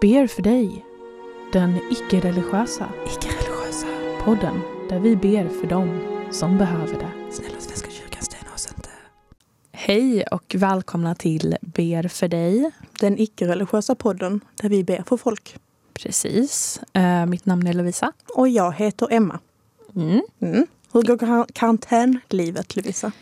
ber för dig, den icke-religiösa Icke-religiösa. podden där vi ber för dem som behöver det. Snälla Svenska kyrkan, stäna oss inte. Hej och välkomna till Ber för dig. Den icke-religiösa podden där vi ber för folk. Precis. Eh, mitt namn är Lovisa. Och jag heter Emma. Mm. Hur går kar- karantänlivet, Lovisa?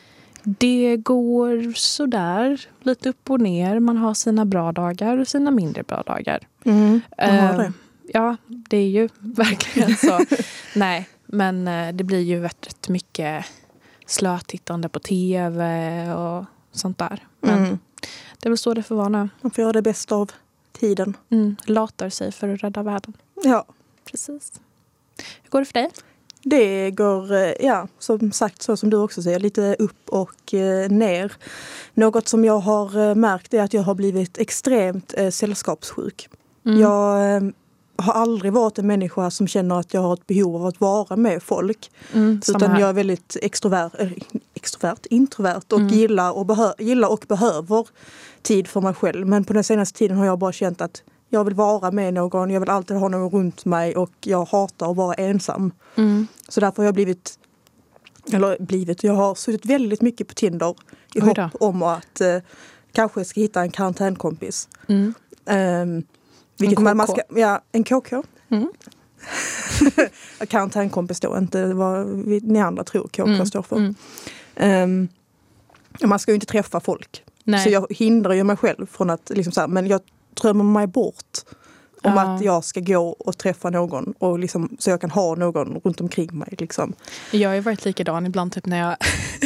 Det går sådär, lite upp och ner. Man har sina bra dagar och sina mindre bra dagar. Mm. har Eh, det. Ja, det är ju verkligen så. Nej, men eh, det blir ju rätt rätt mycket slötittande på tv och sånt där. Men Mm. det är väl så det får vara nu. Man får göra det bästa av tiden. Mm. Latar sig för att rädda världen. Ja, Precis. Hur går det för dig? det går, eh, ja, som sagt, så som du också säger, lite upp och eh, ner. Något som jag har eh, märkt är att jag har blivit extremt eh, sällskapssjuk. Mm. Jag eh, har aldrig varit en människa som känner att jag har ett behov av att vara med folk. Mm, samma Utan här. jag är väldigt extrovert, eh, extrovert introvert och Mm. gillar, och behö, gillar och behöver tid för mig själv. Men på den senaste tiden har jag bara känt att jag vill vara med någon, jag vill alltid ha någon runt mig och jag hatar att vara ensam. Mm. Så därför har jag blivit, eller blivit, jag har suttit väldigt mycket på Tinder i Oj då. hopp om att eh, kanske ska hitta en karantänkompis. Mm. Ehm, vilket man, man KK. ska, ja, en KK. Mm. karantänkompis då, inte vad vi, ni andra tror KK Mm. står för. Mm. Ehm, man ska ju inte träffa folk. Nej. Så jag hindrar ju mig själv från att, liksom så här, men jag drömmer mig bort om Ja. att jag ska gå och träffa någon och liksom, så jag kan ha någon runt omkring mig. Liksom. jag har ju varit likadan ibland typ när jag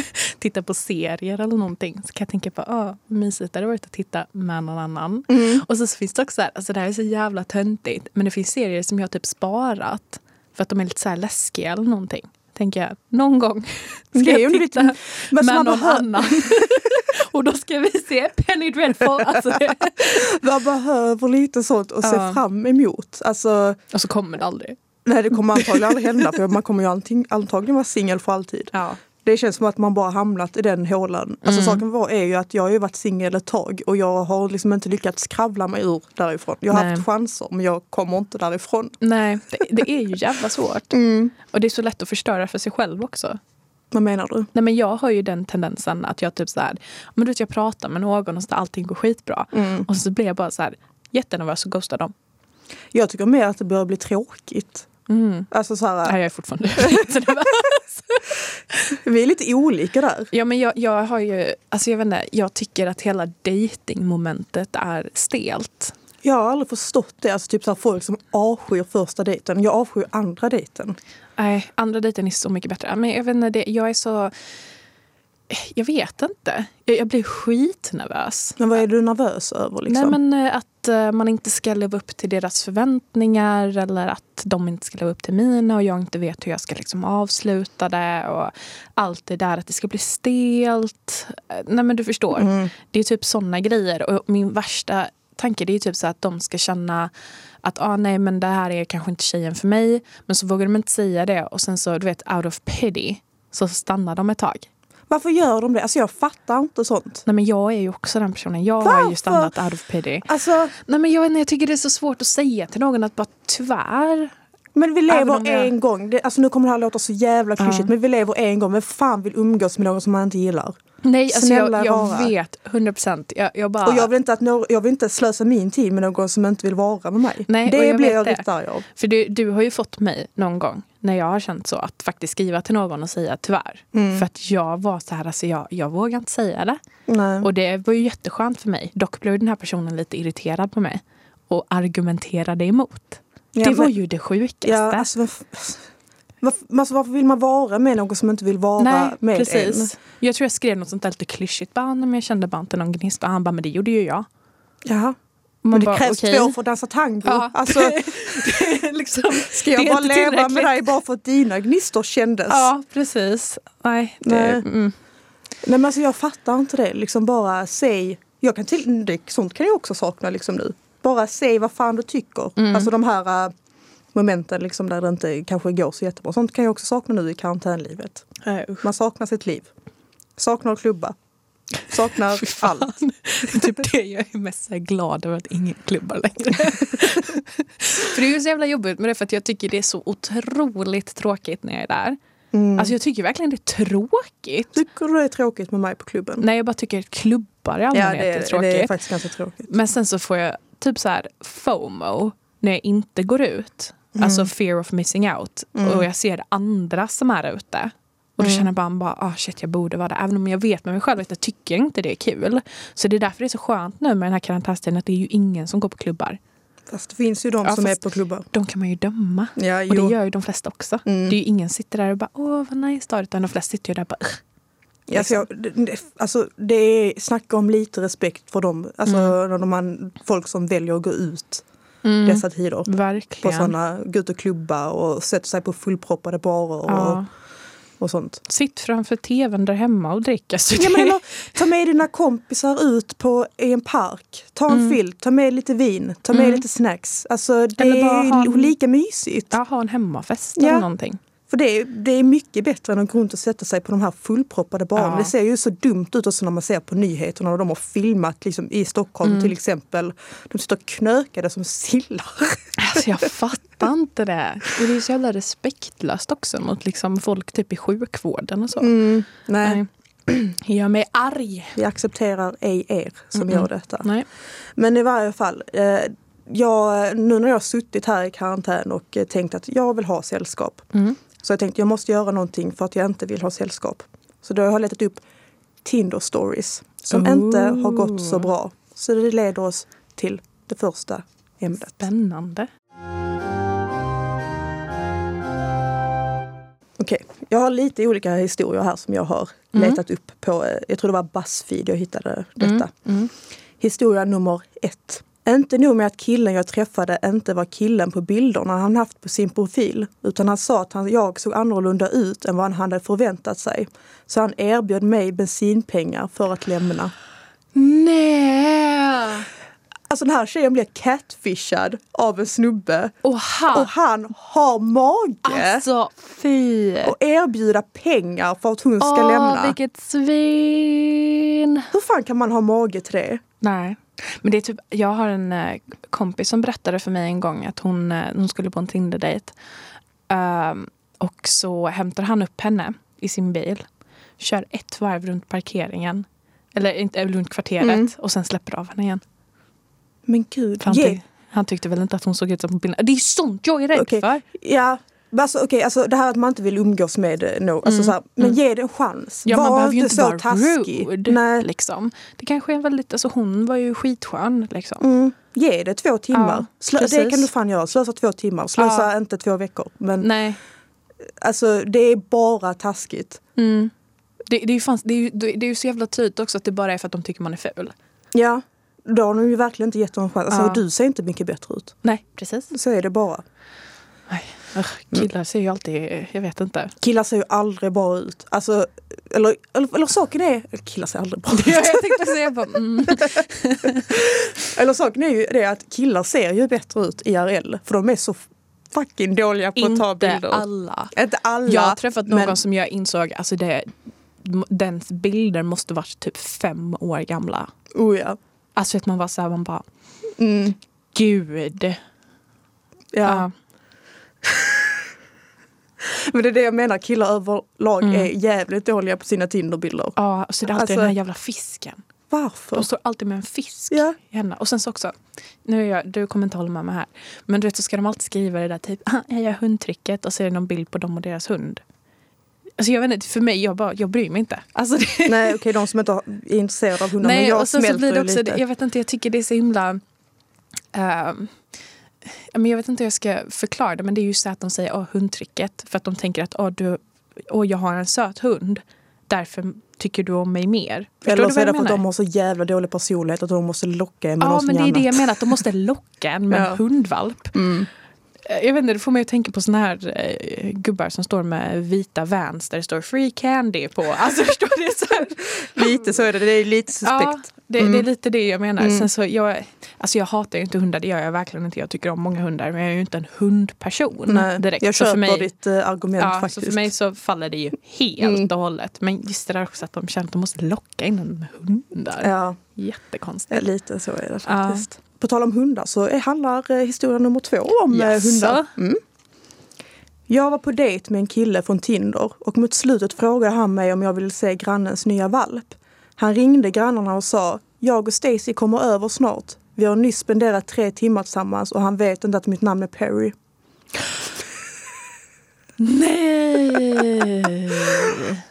tittar på serier eller någonting. Så kan jag tänka på åh, vad mysigt det hade varit att titta med någon annan. Och så finns det också så här, alltså det här är så jävla töntigt. Men det finns serier som jag typ sparat för att de är lite så här läskiga eller någonting. Tänker jag, någon gång ska Det är ju jag en titta liten- Men med så man, någon behö- annan. och då ska vi se Penny Dreadful. Alltså det. man behöver lite sånt att Ja. se fram emot. Alltså, Och så kommer det aldrig. nej, det kommer antagligen aldrig hända för man kommer ju anting, antagligen vara singel för alltid. Ja. Det känns som att man bara hamnat i den hålan. Alltså, Mm. Saken var är ju att jag har ju varit singel ett tag och jag har liksom inte lyckats kravla mig ur därifrån. Jag har Nej. haft chanser men jag kommer inte därifrån. Nej, det, det är ju jävla svårt. Mm. Och det är så lätt att förstöra för sig själv också. Vad menar du? Nej, men jag har ju den tendensen att jag typ så här, men du vet, jag pratar med någon och så där, allting går skitbra. Mm. Och så blir jag bara så här jättenervös och ghostar dem. Jag tycker mer att det börjar bli tråkigt. Mm. Alltså så här, Nej, jag är fortfarande jättenervös. vi är lite olika där. Ja, men jag, jag har ju, alltså jag vet inte, jag tycker att hela datingmomentet är stelt. Jag har aldrig förstått det. Alltså typ så här, folk som avskyr första dejten. Jag avskyr andra dejten. Nej, andra dejten är så mycket bättre. Men jag vet inte, det, jag är så, jag vet inte. Jag, jag blir skitnervös. Men vad är du nervös över liksom? Nej, men eh, att eh, man inte ska leva upp till deras förväntningar eller att de inte ska leva upp till mina och jag inte vet hur jag ska liksom avsluta det och allt det där att det ska bli stelt. Eh, Nej, men du förstår. Mm. Det är typ såna grejer. Och min värsta tanke det är ju typ så att de ska känna att ah, nej men det här är kanske inte tjejen för mig. Men så vågar de inte säga det och sen så du vet out of pity så stannar de ett tag. Varför gör de det? Alltså jag fattar inte sånt. Nej men jag är ju också den personen. Jag har ju Varför? stannat out of pity. Alltså, Nej, men jag, vet inte, jag tycker det är så svårt att säga till någon att bara tyvärr. men vi Även lever om jag- en gång. Det, alltså nu kommer det här låta så jävla klyschigt. Ja. Men vi lever en gång. Vem fan vill umgås med någon som man inte gillar? Nej, alltså jag, Snälla jag rara. vet. 100 procent. Jag, jag bara... Och jag vill, inte att några, jag vill inte slösa min tid med någon som inte vill vara med mig. Nej, och det jag blir vet jag det. riktigt arg av. För du, du har ju fått mig någon gång när jag har känt så att faktiskt skriva till någon och säga tyvärr. Mm. För att jag var så här, alltså jag, jag vågar inte säga det. Nej. Och det var ju jätteskönt för mig. Dock blev den här personen lite irriterad på mig och argumenterade emot. Ja, det var men- ju det sjukaste. Ja, alltså, varför, varför, alltså, varför vill man vara med någon som inte vill vara med en? Jag tror jag skrev något sånt där lite klyschigt. Bara, nej, men jag kände bara inte någon gnista. Han bara, men det gjorde ju jag. Jaha. Man Men det bara, krävs okej. två för att dansa tango. Ja, alltså, liksom, ska jag bara leva med dig bara för att dina gnistor kändes? Ja, precis. Nej, det, Nej. Mm. Nej, men alltså, jag fattar inte det. Liksom bara säg... Jag kan till, det, sånt kan jag också sakna liksom nu. Bara säg vad fan du tycker. Mm. Alltså de här äh, momenten liksom, där det inte kanske går så jättebra. Sånt kan jag också sakna nu i karantänlivet. Nej, usch. Man saknar sitt liv. Saknar att klubba. Saknar Fy fan. allt. typ det jag är mest så här glad över att ingen klubbar längre. för det är ju så jävla jobbigt med det för att jag tycker det är så otroligt tråkigt när jag är där. Mm. Alltså jag tycker verkligen det är tråkigt. Tycker du det är tråkigt med mig på klubben? Nej jag bara tycker att klubbar i allmänhet det, är, är, tråkigt. det är faktiskt ganska tråkigt. Men sen så får jag typ så här FOMO när jag inte går ut. Alltså fear of missing out. Mm. Och jag ser andra som är ute. Och då Mm. känner jag bara, bara ah shit jag borde vara där. Även om jag vet med mig själv att jag tycker inte det är kul. Så det är därför det är så skönt nu med den här karantänstiden att det är ju ingen som går på klubbar. Fast det finns ju de Ja, som fast- är på klubbar. De kan man ju döma. Ja, Och jo. det gör ju de flesta också. Mm. Det är ju ingen som sitter där och bara åh vad nice det är", utan de flesta sitter ju där och bara "Ugh." Alltså, jag, det- det, alltså, det är, snacka om lite respekt för dem. Alltså de man, folk som väljer att gå ut mm. dessa tider. På Verkligen. sådana, gå ut och klubba och sätta sig på fullproppade barer och, ja. och sånt. Sitt framför tvn där hemma och drick. Alltså, Jag det- menar, ta med dina kompisar ut på, i en park. Ta en filt, ta med lite vin, ta med Mm. lite snacks. Alltså det Eller bara är ha en- lika mysigt. Ja, ha en hemmafest Ja. eller någonting. För det är, det är mycket bättre än att gå runt och sätta sig på de här fullproppade barnen. Ja. Det ser ju så dumt ut också när man ser på nyheterna och de har filmat liksom, i Stockholm Mm. till exempel. De sitter knökade som sillar. Alltså jag fattar inte det. Och det är så jävla respektlöst också mot liksom folk typ i sjukvården och så. Nej, Mm. Nej. Jag gör mig arg. vi accepterar ej er som gör detta. Nej. Men i varje fall, eh, jag, nu när jag har suttit här i karantän och eh, tänkt att jag vill ha sällskap. Mm. Så jag tänkte jag måste göra någonting för att jag inte vill ha sällskap. Så då har jag letat upp Tinder stories som Ooh. inte har gått så bra. Så det leder oss till det första ämnet. Spännande. Okej, jag har lite olika historier här som jag har letat upp på, eh, jag tror det var Buzzfeed jag hittade detta. Mm. Historia nummer ett. Inte nog med att killen jag träffade inte var killen på bilderna han haft på sin profil utan han sa att han, jag såg annorlunda ut än vad han hade förväntat sig. Så han erbjöd mig bensinpengar för att lämna. Nej! Alltså den här tjejen blev catfishad av en snubbe Och och han, han har mage Ah. alltså fy! att erbjuda pengar för att hon ska Åh, lämna. vilket svin! Hur fan kan man ha mage till det? Nej. Men det är typ, jag har en eh, kompis som berättade för mig en gång att hon, eh, hon skulle på en Tinder-dejt. Ehm, och så hämtar han upp henne i sin bil, kör ett varv runt parkeringen, eller inte eh, runt kvarteret, Mm. och sen släpper av henne igen. Men gud. För han, ge- tyck, han tyckte väl inte att hon såg ut som på bilden. Det är sånt jag är rädd Okej. för! Ja, men alltså, okej, alltså det här att man inte vill umgås med eh, no, alltså, så här, men ge det en chans. Ja, Var man behöver ju inte inte så vara taskig. rude. Nej. Liksom. Det kanske är en väldigt, alltså hon var ju skitskön. Liksom. Mm. Ge det två timmar. Slö, det precis. kan du fan göra. Slösa två timmar. Slösa Ja. Mm. inte två veckor. Men Nej. alltså det är bara taskigt. Mm. Det, det, är ju fanns, det, är ju, det det är ju så jävla tydligt också att det bara är för att de tycker man är ful. Ja, då har de ju verkligen inte gett dem en chans. Alltså, Ja. Du ser inte mycket bättre ut. Nej, precis. Så är det bara. Mm. killar ser ju alltid, jag vet inte. Killar ser ju aldrig bra ut. Alltså, eller, eller, eller saken är... Killar ser aldrig bra ut. jag tänkte säga bara, mm. Eller saken är ju det att killar ser ju bättre ut IRL för de är så fucking dåliga på att ta inte bilder. alla. inte alla. Jag har träffat någon men- som jag insåg, alltså det, dens bilder måste varit typ fem år gamla. Oh ja. Alltså att man var såhär, man bara Mm, gud. ja. Ja. Men det är det jag menar, killar överlag Mm. är jävligt dåliga på sina Tinderbilder. Ja, och så är det alltid Alltså- den här jävla fisken. Varför? De står alltid med en fisk Ja. i händerna. Och sen så också, nu är jag, du kommer inte hålla med mig här, men du vet så ska de alltid skriva det där typ, "Ah, jag gör hundtricket och så är det någon bild på dem och deras hund. Alltså jag vet inte, för mig, jag, bara, jag bryr mig inte. Alltså det, Nej okej, de som inte har- är intresserade av hundar. men Nej, jag och sen så smälter blir det ju också, lite. jag vet inte, jag tycker det är så himla... ehm, ja, men jag vet inte hur jag ska förklara det, men det är ju så att de säger åh, hundtricket för att de tänker att åh, du, åh, jag har en söt hund, därför tycker du om mig mer. Förstår Eller du så vad är det jag för att menar? de har så jävla dålig personlighet att de måste locka en med Ja, något men det är annat. det jag menar, att de måste locka en med Ja. en hundvalp. Mm. Eh, Jag vet inte, det får mig att tänka på såna här eh, gubbar som står med vita vans där det står free candy på. Alltså förstår du? Det är så här, Lite så är det, det är lite suspekt. Mm. Ja, det, det är lite det jag menar. Sen så jag, Alltså jag hatar ju inte hundar, det gör jag verkligen inte. Jag tycker om många hundar men jag är ju inte en hundperson Mm, direkt. jag Så för köper mig- ditt eh, argument Ja, så faktiskt. för mig så faller det ju helt Mm. och hållet. Men just det där också att de känner att de måste locka in en med hundar. Ja, Jättekonstigt. eh, lite så är det Ja. faktiskt. På tal om hundar så är- handlar eh, historia nummer två om eh, Jaså? hundar. Mm. Jag var på dejt med en kille från Tinder och mot slutet frågade han mig om jag ville se grannens nya valp. Han ringde grannarna och sa jag och Stacy kommer över snart. Vi har nyss spenderat tre timmar tillsammans och han vet inte att mitt namn är Perry. Nej!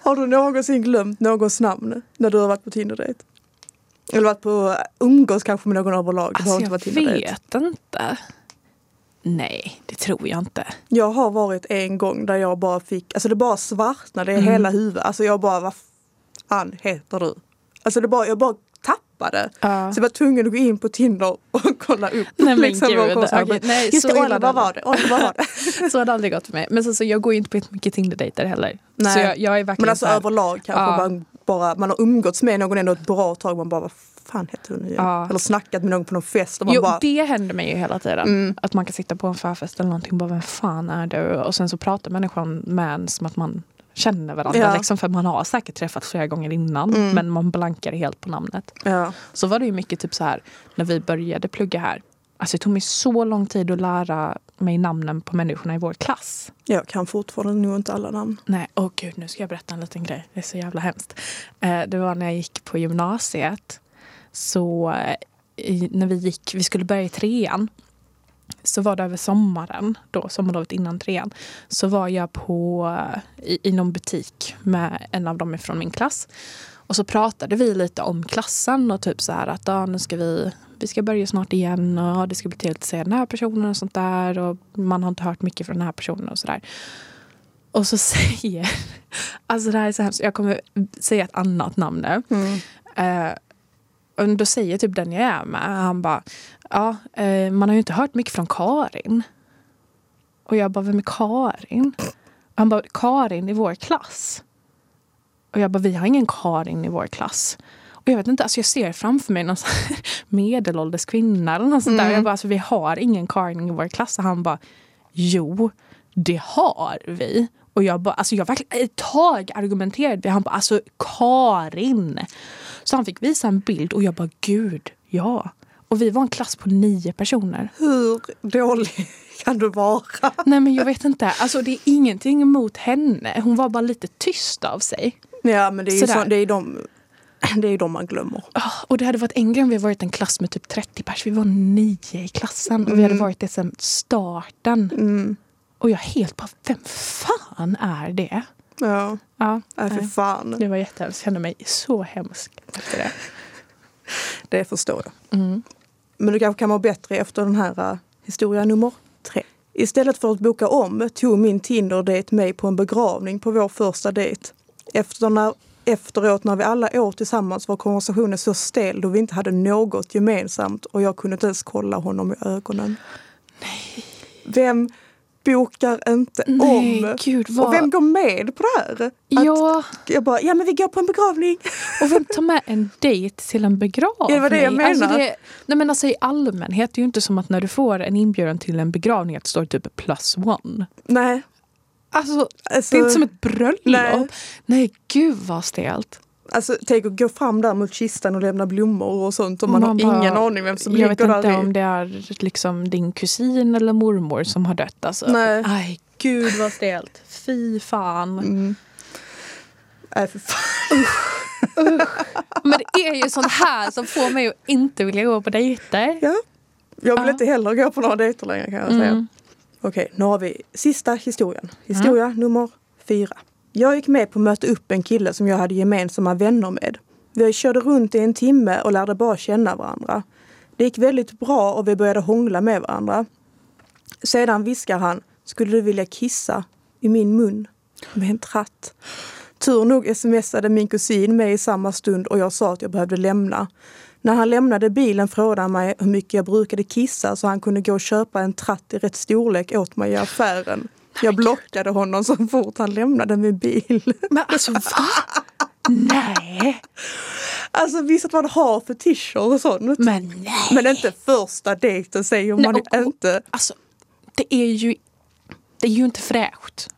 Har du någonsin glömt någons namn när du har varit på Tinder-dejt? Eller varit på umgås kanske med någon överlag? Det har Alltså inte jag varit Tinder-dejt. vet inte. Nej, det tror jag inte. Jag har varit en gång där jag bara fick, alltså det bara svartnade i Mm. hela huvudet. Alltså jag bara, vad fan heter du? Alltså det bara, jag bara tappade. Så jag var tvungen att gå in på Tinder och kolla upp. Ah. Nej men liksom, vad gud. kom som- Okej, nej, Just så det, illa Oliver det. var det. Oliver var det. Så har det aldrig gått för mig. Men så, så jag går ju inte på jättemycket Tinder-dejter heller. Nej. Så jag, jag är verkligen Men alltså så här- Ah. överlag kanske Ja. man bara, man har umgåtts med någon ändå ett bra tag. Man bara, vad fan heter du nu igen? Ja. Eller snackat med någon på någon fest och man Ah. jo, bara, det händer mig ju hela tiden. Mm. Att man kan sitta på en förfest eller någonting och bara vem fan är du? Och sen så pratar människan med en som att man känner varandra. Ja. Liksom, för man har säkert träffats flera gånger innan Mm. men man blankar helt på namnet. ja. Så var det ju mycket typ så här när vi började plugga här. Alltså det tog mig så lång tid att lära mig namnen på människorna i vår klass. Jag kan fortfarande nog inte alla namn. Nej, åh gud, nu ska jag berätta en liten grej. Det är så jävla hemskt. Eh, det var när jag gick på gymnasiet. Så eh, i, när vi gick, vi skulle börja i trean. Så var det över sommaren, då, sommarlovet innan trean. Så var jag på, eh, i, i någon butik med en av dem från min klass. Och så pratade vi lite om klassen och typ så här att ah, nu ska vi, vi ska börja snart igen och ah, det ska bli trevligt att se den här personen och sånt där. Och man har inte hört mycket från den här personen och sådär. Och så säger... Alltså det här är så hemskt. Jag kommer säga ett annat namn nu. Eh, och då säger typ den jag är med, han bara... Ja, eh, man har ju inte hört mycket från Karin. Och jag bara, vem är Karin? Och han bara, Karin i vår klass. Och jag bara, vi har ingen Karin i vår klass. Och jag vet inte, alltså jag ser framför mig någon sån här medelålders kvinna eller något sånt där. Mm. Jag bara, alltså vi har ingen Karin i vår klass. Och han bara, jo, det har vi. Och jag bara, alltså jag verkligen, ett tag argumenterade vi. Han bara, alltså Karin. Så han fick visa en bild och jag bara, gud, ja. Och vi var en klass på nio personer. Hur dålig kan du vara? Nej men jag vet inte. Alltså det är ingenting emot henne. Hon var bara lite tyst av sig. Ja men det är ju Sådär. så, det är de, det är de man glömmer. Ah, Och det hade varit en grej om vi hade varit en klass med typ 30 pers. Vi var nio i klassen och vi hade varit det sedan starten. Mm. Och jag helt bara, vem fan är det? Ja, Ja, nej, för nej. fan. det var jättehemskt. Jag kände mig så hemsk efter det. Det förstår jag. Mm. Men du kanske kan må bättre efter den här eh, historia nummer tre. Istället för att boka om tog min Tinder-dejt mig på en begravning på vår första dejt. Efter när, efteråt när vi alla åt tillsammans var konversationen så stel då vi inte hade något gemensamt och jag kunde inte ens kolla honom i ögonen. Nej. Vem bokar inte om? Nej, gud vad... Och vem går med på det här? Att Ja, Jag bara, ja men vi går på en begravning. och vem tar med en dejt till en begravning? Ja, det var det jag Alltså menar. det, nej men alltså i allmänhet, det är ju inte som att när du får en inbjudan till en begravning att det står typ plus one. Nej, Alltså, alltså, det är inte som ett bröllop. Nej. Nej, gud vad stelt. alltså tänk att gå fram där mot kistan och lämna blommor och sånt och man, Man har bara- ingen aning vem som Jag vet ligger där inte i. om det är liksom din kusin eller mormor som har dött. Alltså. Nej. Aj, gud vad stelt. Fy fan. Mm. Nej, för fan. Men det är ju sånt här som får mig att inte vilja gå på dejter. Ja. Jag vill Ja. inte heller gå på några dejter längre kan jag säga. Mm. Okej, nu har vi sista historien. Historia nummer fyra. Jag gick med på att möta upp en kille som jag hade gemensamma vänner med. Vi körde runt i en timme och lärde bara känna varandra. Det gick väldigt bra och vi började hångla med varandra. Sedan viskar han, skulle du vilja kissa i min mun med en tratt? Tur nog smsade min kusin mig i samma stund och jag sa att jag behövde lämna. När han lämnade bilen frågade han mig hur mycket jag brukade kissa så han kunde gå och köpa en tratt i rätt storlek åt mig i affären. Jag blockade honom så fort han lämnade min bil. Men alltså va? Nej. Alltså visst att man har fetischer och sånt. Men nej! Men inte första dejten säger Nej, man och- och- inte. Alltså, det är ju, det är ju inte fräscht.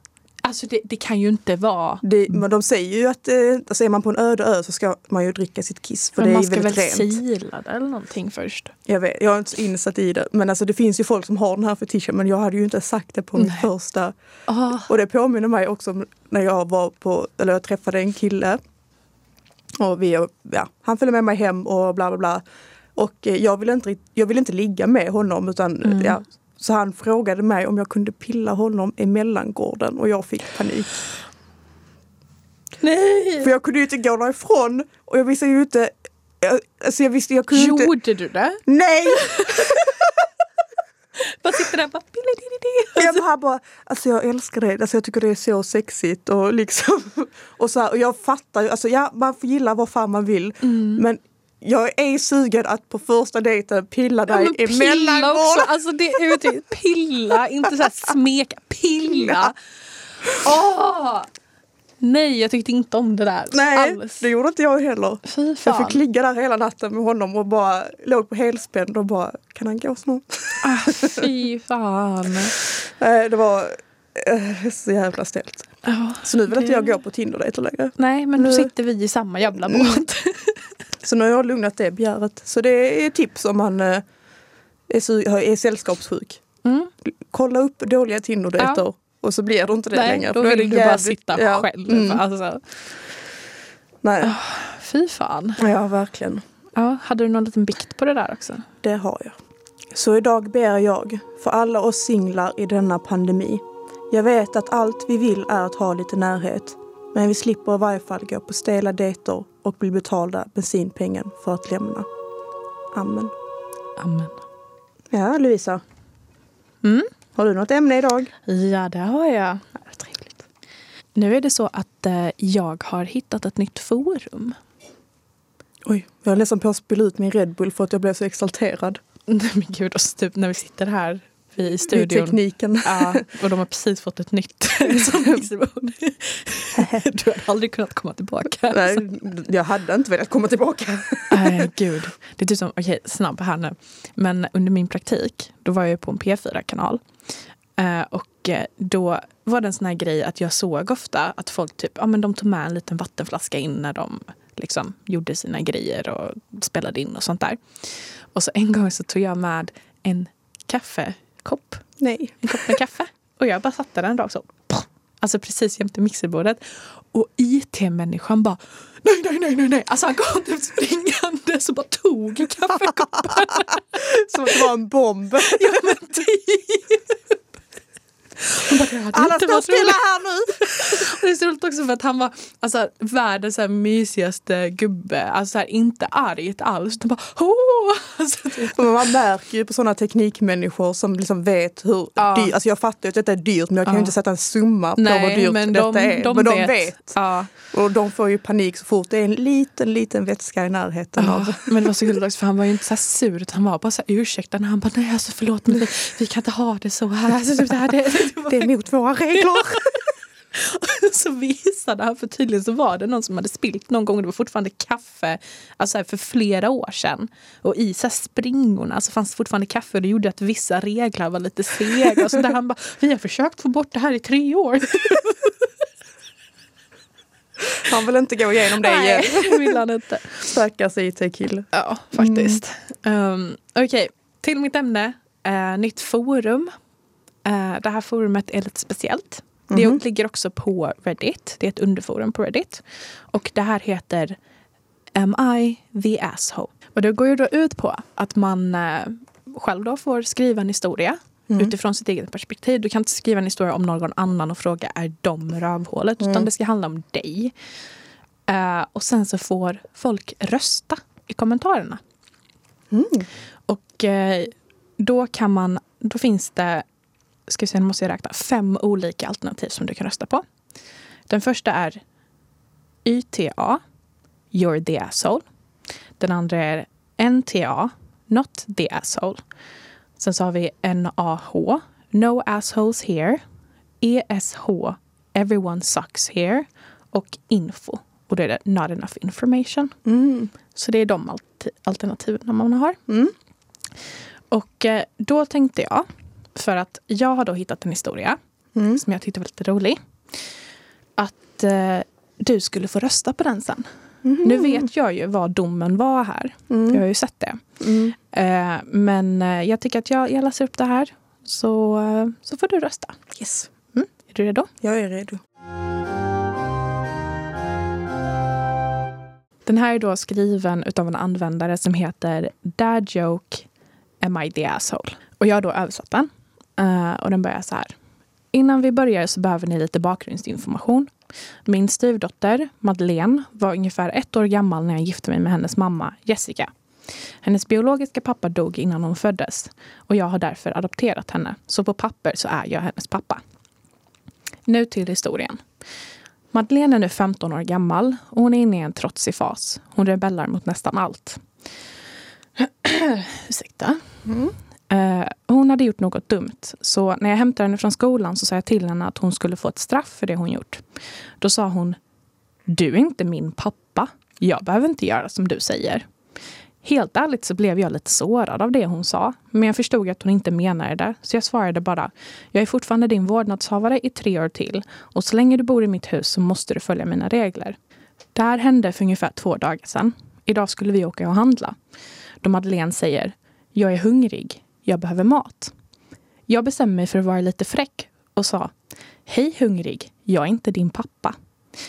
Alltså det, det kan ju inte vara... Det, men de säger ju att eh, alltså är man på en öde ö så ska man ju dricka sitt kiss för Men det är man ju ska väl väldigt rent. sila det eller någonting först? Jag, vet, jag är inte så insatt i det. Men alltså det finns ju folk som har den här fetischen men jag hade ju inte sagt det på min Nej. första. Ah, Och det påminner mig också om när jag var på, eller jag träffade en kille. Och vi, ja, han följde med mig hem och bla bla bla. Och eh, jag ville inte, rikt- jag ville inte ligga med honom utan eh, Mm. ja, så han frågade mig om jag kunde pilla honom i mellangården och jag fick panik. nej! För jag kunde ju inte gå därifrån och jag visste ju inte, jag, alltså jag visste, jag kunde inte. Gjorde du det? Nej! Bara sitter där och bara... Och jag bara, bara, alltså jag älskar det, alltså jag tycker det är så sexigt och liksom och så här, och jag fattar ju, alltså ja man får gilla vad fan man vill Mm. men jag är sugen att på första dejten pilla Ja, dig men i pilla också! mellangården. Alltså det är ju typ pilla, inte så här smeka. Pilla! Åh! Nej, jag tyckte inte om det där Nej, alls. det gjorde inte jag heller. Fy Jag fan. fick ligga där hela natten med honom och bara låg på helspänn och bara, kan han gå snart? Ah, Fy fan. Nej, det var eh, så jävla ställt. Ja. Så nu vill inte Det- jag gå på Tinder-dejter längre. Nej, men nu Nu- Mm. sitter vi i samma jävla båt. Så nu har jag lugnat det begäret. Så det är tips om man eh, är, su- är sällskapssjuk. Mm. kolla upp dåliga Tinder-dejter och så blir det inte det Nej, längre. då för är vill det du bara jävligt- sitta ja. själv. Mm. Alltså, Nej. fy fan. Ja, verkligen. Ja, hade du någon liten bikt på det där också? Det har jag. Så idag ber jag för alla oss singlar i denna pandemi. Jag vet att allt vi vill är att ha lite närhet. Men vi slipper i varje fall gå på stela dejter och bli betalda bensinpengen för att lämna. Amen. Amen. Ja, Lovisa. Mm. Har du något ämne idag? Ja, det har jag. Trevligt. Nu är det så att eh, jag har hittat ett nytt forum. Oj, jag är ledsen på att spilla ut min Red Bull för att jag blev så exalterad. Nej men gud, och så typ när vi sitter här vi i Vid studion. tekniken. Ja, och de har precis fått ett nytt som mixerbord. Du hade aldrig kunnat komma tillbaka. Nej, jag hade inte velat komma tillbaka. Nej, gud. Det är typ som, okej, snabb här nu. Men under min praktik, då var jag på en P4-kanal. Eh, och eh, då var det en sån här grej att jag såg ofta att folk typ, ja men de tog med en liten vattenflaska in när de liksom gjorde sina grejer och spelade in och sånt där. Och så en gång så tog jag med en kaffekopp Nej. en kopp med kaffe. Och jag bara satte den rakt så. Pah! Alltså precis jämte mixerbordet. Och IT-människan bara nej, nej, nej, nej, nej. Alltså han kom typ springande så bara tog kaffekoppen. Som att det var en bomb. ja men typ. Hon bara, det hade Alla inte står varit stilla roligt. här nu! Och Det är så roligt också för att han var alltså, världens så här, mysigaste gubbe. Alltså så här, inte argt alls. De bara åh! Alltså, typ. Men man märker ju på sådana teknikmänniskor som liksom vet hur Ja. dyrt, alltså jag fattar ju att detta är dyrt men jag kan ju Ja. inte sätta en summa på vad dyrt detta är. men de vet. Ja. Och de får ju panik så fort det är en liten, liten vätska i närheten Ja, av. men det var så gulligt också, för han var ju inte så här sur utan han var bara så här ursäktande. Han bara nej alltså förlåt men vi, vi kan inte ha det så här. Alltså, typ det här det, Det är mot våra regler. Så visade han för tydligen så var det någon som hade spilt någon gång och det var fortfarande kaffe alltså här, för flera år sedan. Och i så här, springorna så fanns det fortfarande kaffe och det gjorde att vissa reglar var lite sega. Och så där han bara vi har försökt få bort det här i tre år. Man vill inte gå igenom det igen. Nej, det vill han inte. Stackars IT-kille. Ja, faktiskt. Um, Okej, till mitt ämne. eh, nytt forum. Eh, det här forumet är lite speciellt. Mhm. Det ligger också på Reddit. Det är ett underforum på Reddit. Och det här heter Am I the asshole? Och det går ju då ut på att man eh, själv då får skriva en historia Mm. utifrån sitt eget perspektiv. Du kan inte skriva en historia om någon annan och fråga är de rövhålet? Utan Mm. det ska handla om dig. Eh, och sen så får folk rösta i kommentarerna. Mm. Och eh, då kan man, då finns det, ska vi se, nu måste jag räkna, fem olika alternativ som du kan rösta på. Den första är YTA, You're the asshole. Den andra är NTA, Not the asshole. Sen så har vi NAH, No assholes E here. ESH, Everyone sucks here. Och info. Och då är det not enough information. Mm. Så det är de alt- alternativen man har. Mm. Och eh, då tänkte jag, för att jag har då hittat en historia Mm. som jag tyckte var lite rolig. Att eh, du skulle få rösta på den sen. Mhm. Nu vet jag ju vad domen var här. Jag har Mm. ju sett det. Mm. Eh, men eh, jag tycker att jag, jag läser upp det här. Så, eh, så får du rösta. Mm. Yes, Är du redo? jag är redo. Den här är då skriven utav en användare som heter Dad Joke Am I the Asshole? Och jag har då översatt den. Eh, och den börjar så här. Innan vi börjar så behöver ni lite bakgrundsinformation. Min styvdotter Madeleine var ungefär ett år gammal när jag gifte mig med hennes mamma Jessica. Hennes biologiska pappa dog innan hon föddes och jag har därför adopterat henne. Så på papper så är jag hennes pappa. Nu till historien. Madeleine är nu 15 år gammal och hon är inne i en trotsig fas. Hon rebellar mot nästan allt. Ursäkta. Eh, hon hade gjort något dumt, så när jag hämtade henne från skolan så sa jag till henne att hon skulle få ett straff för det hon gjort. Då sa hon Du är inte min pappa. Jag behöver inte göra som du säger. Helt ärligt så blev jag lite sårad av det hon sa, men jag förstod att hon inte menade det, så jag svarade bara Jag är fortfarande din vårdnadshavare i tre år till och så länge du bor i mitt hus så måste du följa mina regler. Det här hände för ungefär två dagar sedan. Idag skulle vi åka och handla. Då Madeleine säger Jag är hungrig. Jag behöver mat. Jag bestämmer mig för att vara lite fräck och sa Hej hungrig. Jag är inte din pappa.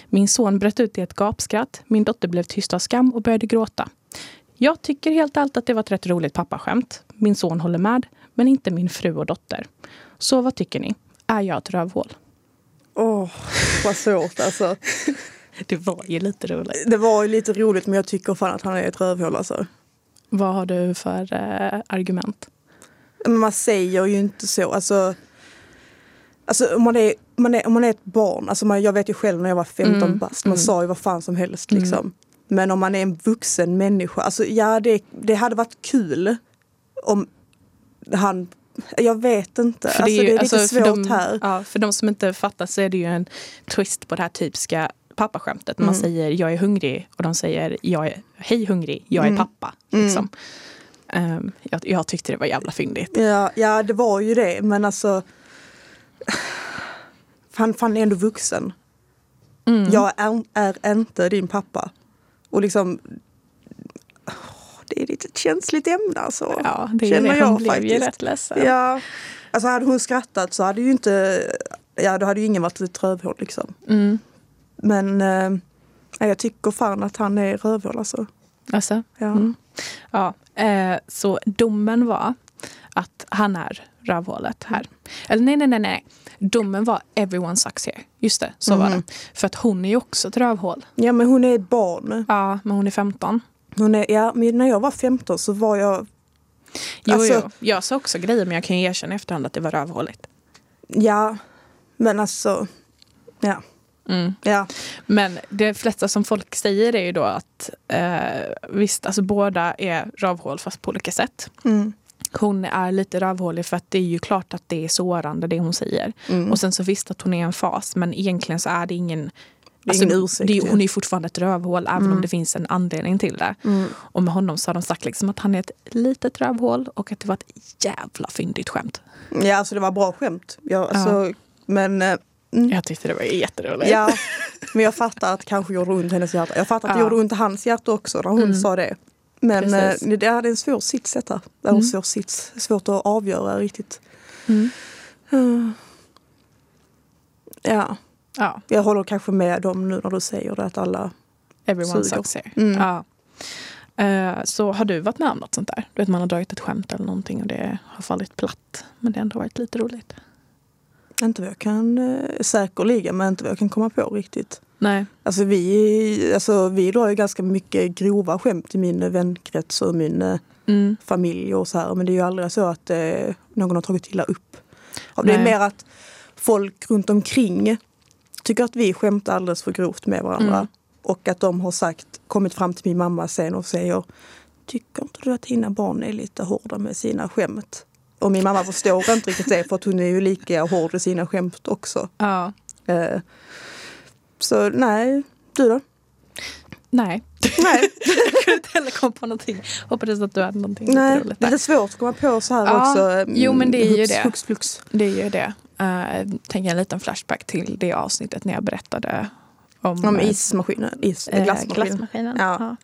Min son bröt ut i ett gapskratt. Min dotter blev tyst av skam och började gråta. Jag tycker helt allt att det var ett rätt roligt pappaskämt. Min son håller med, men inte min fru och dotter. Så vad tycker ni? Är jag ett rövhål? Åh, vad svårt alltså. Det var ju lite roligt. Det var ju lite roligt men jag tycker fan att han är ett rövhål alltså. Vad har du för eh, argument? Men man säger ju inte så. Alltså, alltså om, man är, man är, om man är ett barn, alltså man, jag vet ju själv när jag var 15 Mm, bast, man mm. sa ju vad fan som helst Mm. liksom. Men om man är en vuxen människa, alltså ja det, det hade varit kul om han, jag vet inte, För alltså ju- det är alltså, lite för svårt de, här. Ja, för de som inte fattar så är det ju en twist på det här typiska pappaskämtet. När man Mm. säger jag är hungrig och de säger jag är, hej hungrig, jag är Mm. pappa. Liksom. Ehm, jag, jag tyckte det var jävla fyndigt. Ja, ja det var ju det men alltså han, fan är ändå vuxen. Mm. Jag är, är inte din pappa. Och liksom... Åh, Det är lite ett känsligt ämne alltså. ja, det är ju känner det. jag Hon blev ju faktiskt. rätt ledsen. Ja. Alltså hade hon skrattat så hade ju inte... Ja, då hade ju ingen varit ett rövhål liksom. Mm. Men eh, nej, jag tycker fan att han är rövhål alltså. Alltså, Ja. Mm. Ja, eh, så domen var att han är rövhålet här. Eller nej, nej, nej, nej. Domen var everyone sucks here. Just det, så var Mhm. det. För att hon är ju också ett rövhål. Ja, men hon är ett barn. Ja, men hon är 15. Hon är, ja, men när jag var 15 så var jag... Jo, Alltså- jo, jag sa också grejer men jag kan ju erkänna i efterhand att det var rövhåligt. Ja, men alltså... Ja, Mm. ja. Men det flesta som folk säger är ju då att eh, visst, alltså båda är rövhål fast på olika sätt. Mm. Hon är lite rövhålig för att det är ju klart att det är sårande det hon säger. Mm. Och sen så visst att hon är en fas, men egentligen så är det ingen... alltså, Det är ingen ursäkt, det är- ja. hon är ju fortfarande ett rövhål, även Mm. om det finns en anledning till det. Mm. Och med honom så har de sagt liksom att han är ett litet rövhål och att det var ett jävla fyndigt skämt. Ja, alltså det var bra skämt. Jag, alltså, Men... eh, mm. Jag tyckte det var jätteroligt. Ja, men jag fattar att det kanske gjorde ont i hennes hjärta. Jag fattar att det Ja. gjorde ont i hans hjärta också när hon Mm. sa det. Men eh, Precis. det det är en svår sits detta. Eller Mm. svår sits. Svårt att avgöra riktigt. Mm. Eh, Ja, ja. jag håller kanske med dem nu när du säger det att alla... Everyone Suger. sucks here. Mm. Ja. Eh, så har du varit med om något sånt där? Du vet man har dragit ett skämt eller någonting och det har fallit platt. Men det har ändå varit lite roligt. Inte vad jag kan, eh, säkerligen, men inte vad jag kan komma på riktigt. Nej. Alltså vi, alltså vi drar ju ganska mycket grova skämt i min vänkrets och min eh, Mm. familj och så här. Men det är ju aldrig så att eh, någon har tagit illa upp. Och det är Nej. mer att folk runt omkring tycker att vi skämtar alldeles för grovt med varandra. Mm. Och att de har sagt, kommit fram till min mamma sen och säger Tycker inte du att dina barn är lite hårda med sina skämt? Och min mamma förstår inte riktigt det för att hon är ju lika hård i sina skämt också. Ja. Eh, så nej, du då? Nej. Nej, Jag kunde inte heller komma på någonting. Hoppades att du hade någonting nej. lite roligt det där. är svårt att komma på så här Ja, också. eh, jo, men det är ju Hux- det. Hux flux. Det är ju det. Uh, tänker en liten flashback till det avsnittet när jag berättade om, Om eh, ismaskinen, is, eh, glassmaskinen. glassmaskinen. Ja. Ja.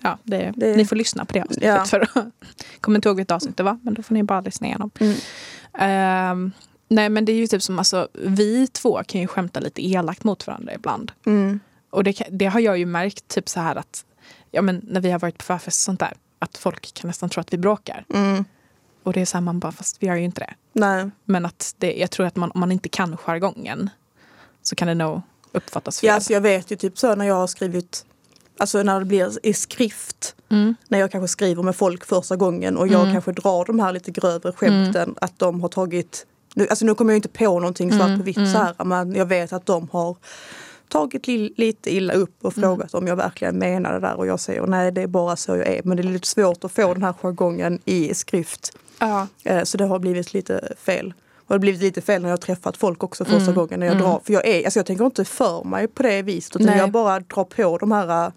Ja, det, Det- Ni får lyssna på det avsnittet. Ja. För, jag kommer inte ihåg vilket avsnitt det var, men då får ni bara lyssna igenom. Mm. Ehm, nej, men det är ju typ som alltså, vi två kan ju skämta lite elakt mot varandra ibland. Mm. Och det, kan- det har jag ju märkt typ så här att ja, men när vi har varit på förfest och sånt där, att folk kan nästan tro att vi bråkar. Mm. Och det är så här, man bara, fast vi gör ju inte det. Nej. Men att det, jag tror att man, om man inte kan jargongen så kan det nog uppfattas fel. Ja, alltså jag vet ju typ så när jag har skrivit, alltså när det blir i skrift, mm. när jag kanske skriver med folk första gången och jag Mm. kanske drar de här lite grövre skämten, att de har tagit, nu, alltså nu kommer jag inte på någonting svart Mm, på vitt mm. så här, men jag vet att de har tagit li, lite illa upp och Mm. frågat om jag verkligen menar det där och jag säger nej det är bara så jag är. Men det är lite svårt att få den här jargongen i skrift. ja. Eh, Så det har blivit lite fel. Och det har blivit lite fel när jag har träffat folk också första Mm, gången. När jag, mm. drar, för jag, är, alltså jag tänker inte för mig på det viset utan Nej. jag bara drar på de här eh,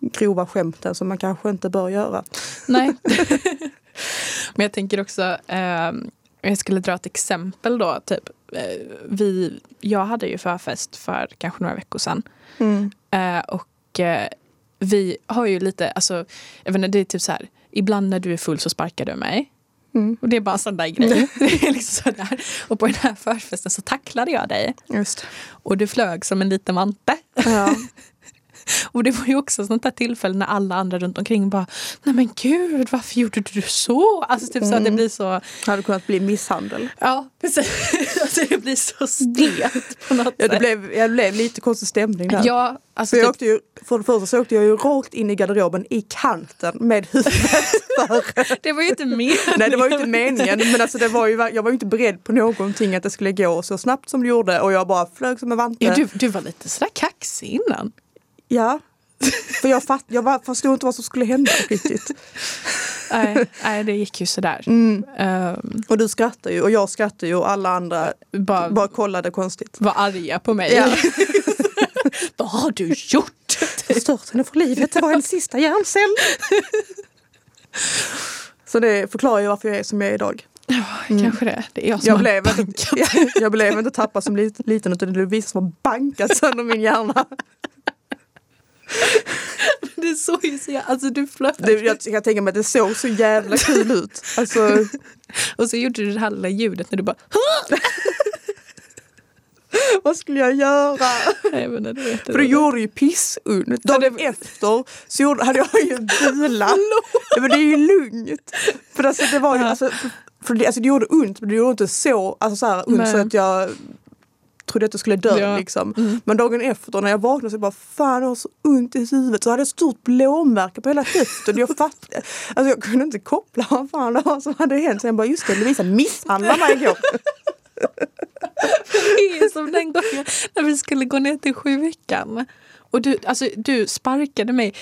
grova skämten som man kanske inte bör göra. Nej. Men jag tänker också, eh, jag skulle dra ett exempel då. Typ, eh, vi, jag hade ju förfest för kanske några veckor sedan. Mm. Eh, och eh, vi har ju lite, alltså, jag vet inte, det är typ så här, ibland när du är full så sparkar du mig. Mm. Och det är bara en sån där grej. Det är liksom sådär. Och på den här förfesten så tacklade jag dig Just. och du flög som en liten vante. Ja. Och det var ju också ett sånt där tillfälle när alla andra runt omkring bara Nej men gud, varför gjorde du så? Alltså typ så att det Mm. blir så Det hade kunnat bli misshandel. Ja, precis. Alltså det blir så stelt på något Ja, det, sätt. blev, ja, det blev lite konstig stämning där. Ja, alltså För, jag typ, åkte ju, för det första så åkte jag ju rakt in i garderoben i kanten med huvudet för det var ju inte meningen. Nej det var ju inte meningen men alltså det var ju, jag var ju inte beredd på någonting att det skulle gå så snabbt som det gjorde och jag bara flög som en vante. Ja, du, du var lite sådär kaxig innan. Ja. För jag, fatt, jag var- förstod inte vad som skulle hända riktigt. Nej, nej det gick ju sådär. Ehm, Och du skrattar ju och jag skrattar ju och alla andra bara bara kollade konstigt. var arga på mig. Ja. Vad har du gjort? Förstört henne för livet, det var hennes sista hjärncell. Så det förklarar ju varför jag är som jag är idag. Ja, kanske det. Det är Mm. jag som Jag har blev, inte, bankat. jag blev inte tappad som lit- liten utan det är Lovisa som har bankat sönder min hjärna. Det såg ju så jä- Alltså du flög. Det, jag, jag tänker mig att det såg så jävla kul ut. Alltså, Och så gjorde du det här lilla ljudet när du bara... vad skulle jag göra? Nej, men det var För du jätteroligt. gjorde ju pissunt. Dagen efter så gjorde, hade jag ju en bula. Ja, men det är ju lugnt. För alltså, det var ju, alltså, för- för det, alltså det gjorde ont men det gjorde inte så, alltså, så här, ont Nej. så att jag trodde att jag skulle dö Ja. liksom. Men dagen efter när jag vaknade så bara fan jag har så ont i huvudet. Så hade jag ett stort blåmärke på hela höften. Jag fattade, alltså jag kunde inte koppla vad fan det var som hade hänt. Sen bara just det Lovisa misshandlade mig igår. Det är som den gången när vi skulle gå ner till sju veckan. Och du, alltså, du sparkade mig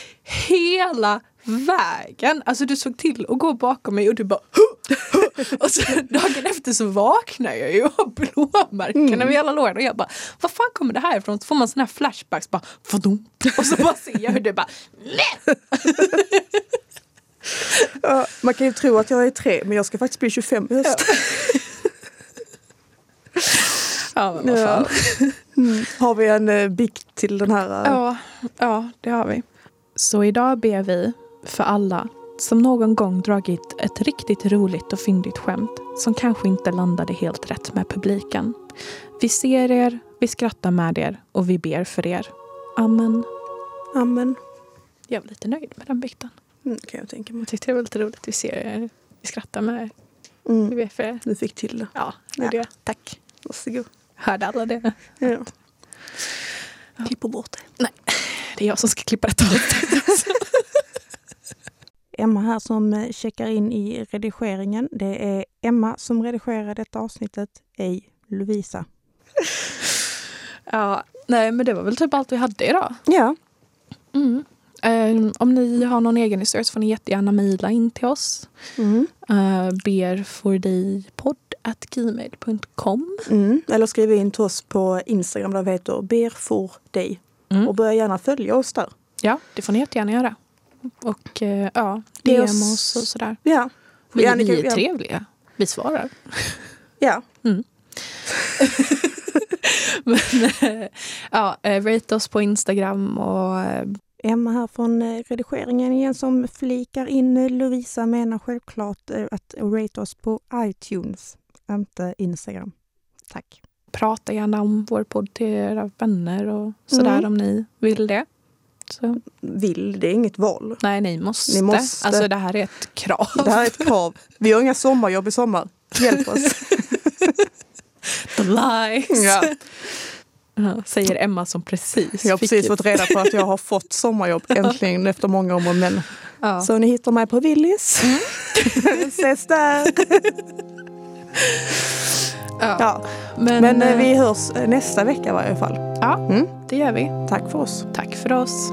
hela vägen. Alltså du såg till att gå bakom mig och du bara... "Huh, huh." Och så dagen efter så vaknar jag ju och har blåmärken över hela låren. Och jag bara, vad fan kommer det här ifrån? Så får man såna här flashbacks. Bara, "Vadå?" och så bara ser jag hur du bara... "Nej." Ja, Man kan ju tro att jag är tre men jag ska faktiskt bli 25 i höst. Ja, men vad fan. Mm. Har vi en eh, bikt till den här? eh, Ja, ja, det har vi. Så idag ber vi för alla som någon gång dragit ett riktigt roligt och fyndigt skämt som kanske inte landade helt rätt med publiken. Vi ser er, vi skrattar med er och vi ber för er. Amen. Amen. Jag var lite nöjd med den biten. Mm, kan jag tänka mig. Jag tyckte det var lite roligt. Vi ser er, vi skrattar med er, vi Mm. ber för er. Du fick till det. Ja, det är det. Tack. Varsågod. Hörde alla det? Ja. Klipper bort det. Det är jag som ska klippa detta avsnittet. Emma här som eh, checkar in i redigeringen. Det är Emma som redigerar detta avsnittet, ej Lovisa. Ja, nej men det var väl typ allt vi hade idag. Ja. Mm. Eh, om ni har någon egen historia så får ni jättegärna mejla in till oss. Mm. Uh, berfordejpodd.gmail.com Mm. Eller skriv in till oss på Instagram, där vi heter Ber for dig. Mm. Och börja gärna följa oss där. Ja, det får ni jättegärna göra. Och eh, ja, Ge DM oss- oss och sådär. Ja, Vi, Ja, ni kan- vi är ja. trevliga. Vi svarar. ja. Men, eh, ja, eh, rate oss på Instagram och eh, Emma här från eh, redigeringen igen som flikar in eh, Lovisa menar självklart eh, att rate oss på iTunes, inte Instagram. Tack. prata gärna om vår podd till era vänner och sådär Mm. om ni vill det. Så, Vill, det är inget val. nej, ni måste. Ni måste. Alltså det här är ett krav. Det här är ett krav. Vi har inga sommarjobb i sommar. Hjälp oss. The lies. Ja. Ja, Säger Emma som precis Jag har fick precis ett- fått reda på att jag har fått sommarjobb äntligen efter många om och men. ja. Så ni hittar mig på Willys. Ses där! Ja. Ja. Men, Men eh, eh, vi hörs eh, nästa vecka i varje fall. ja, Mm. det gör vi. Tack för oss. Tack för oss.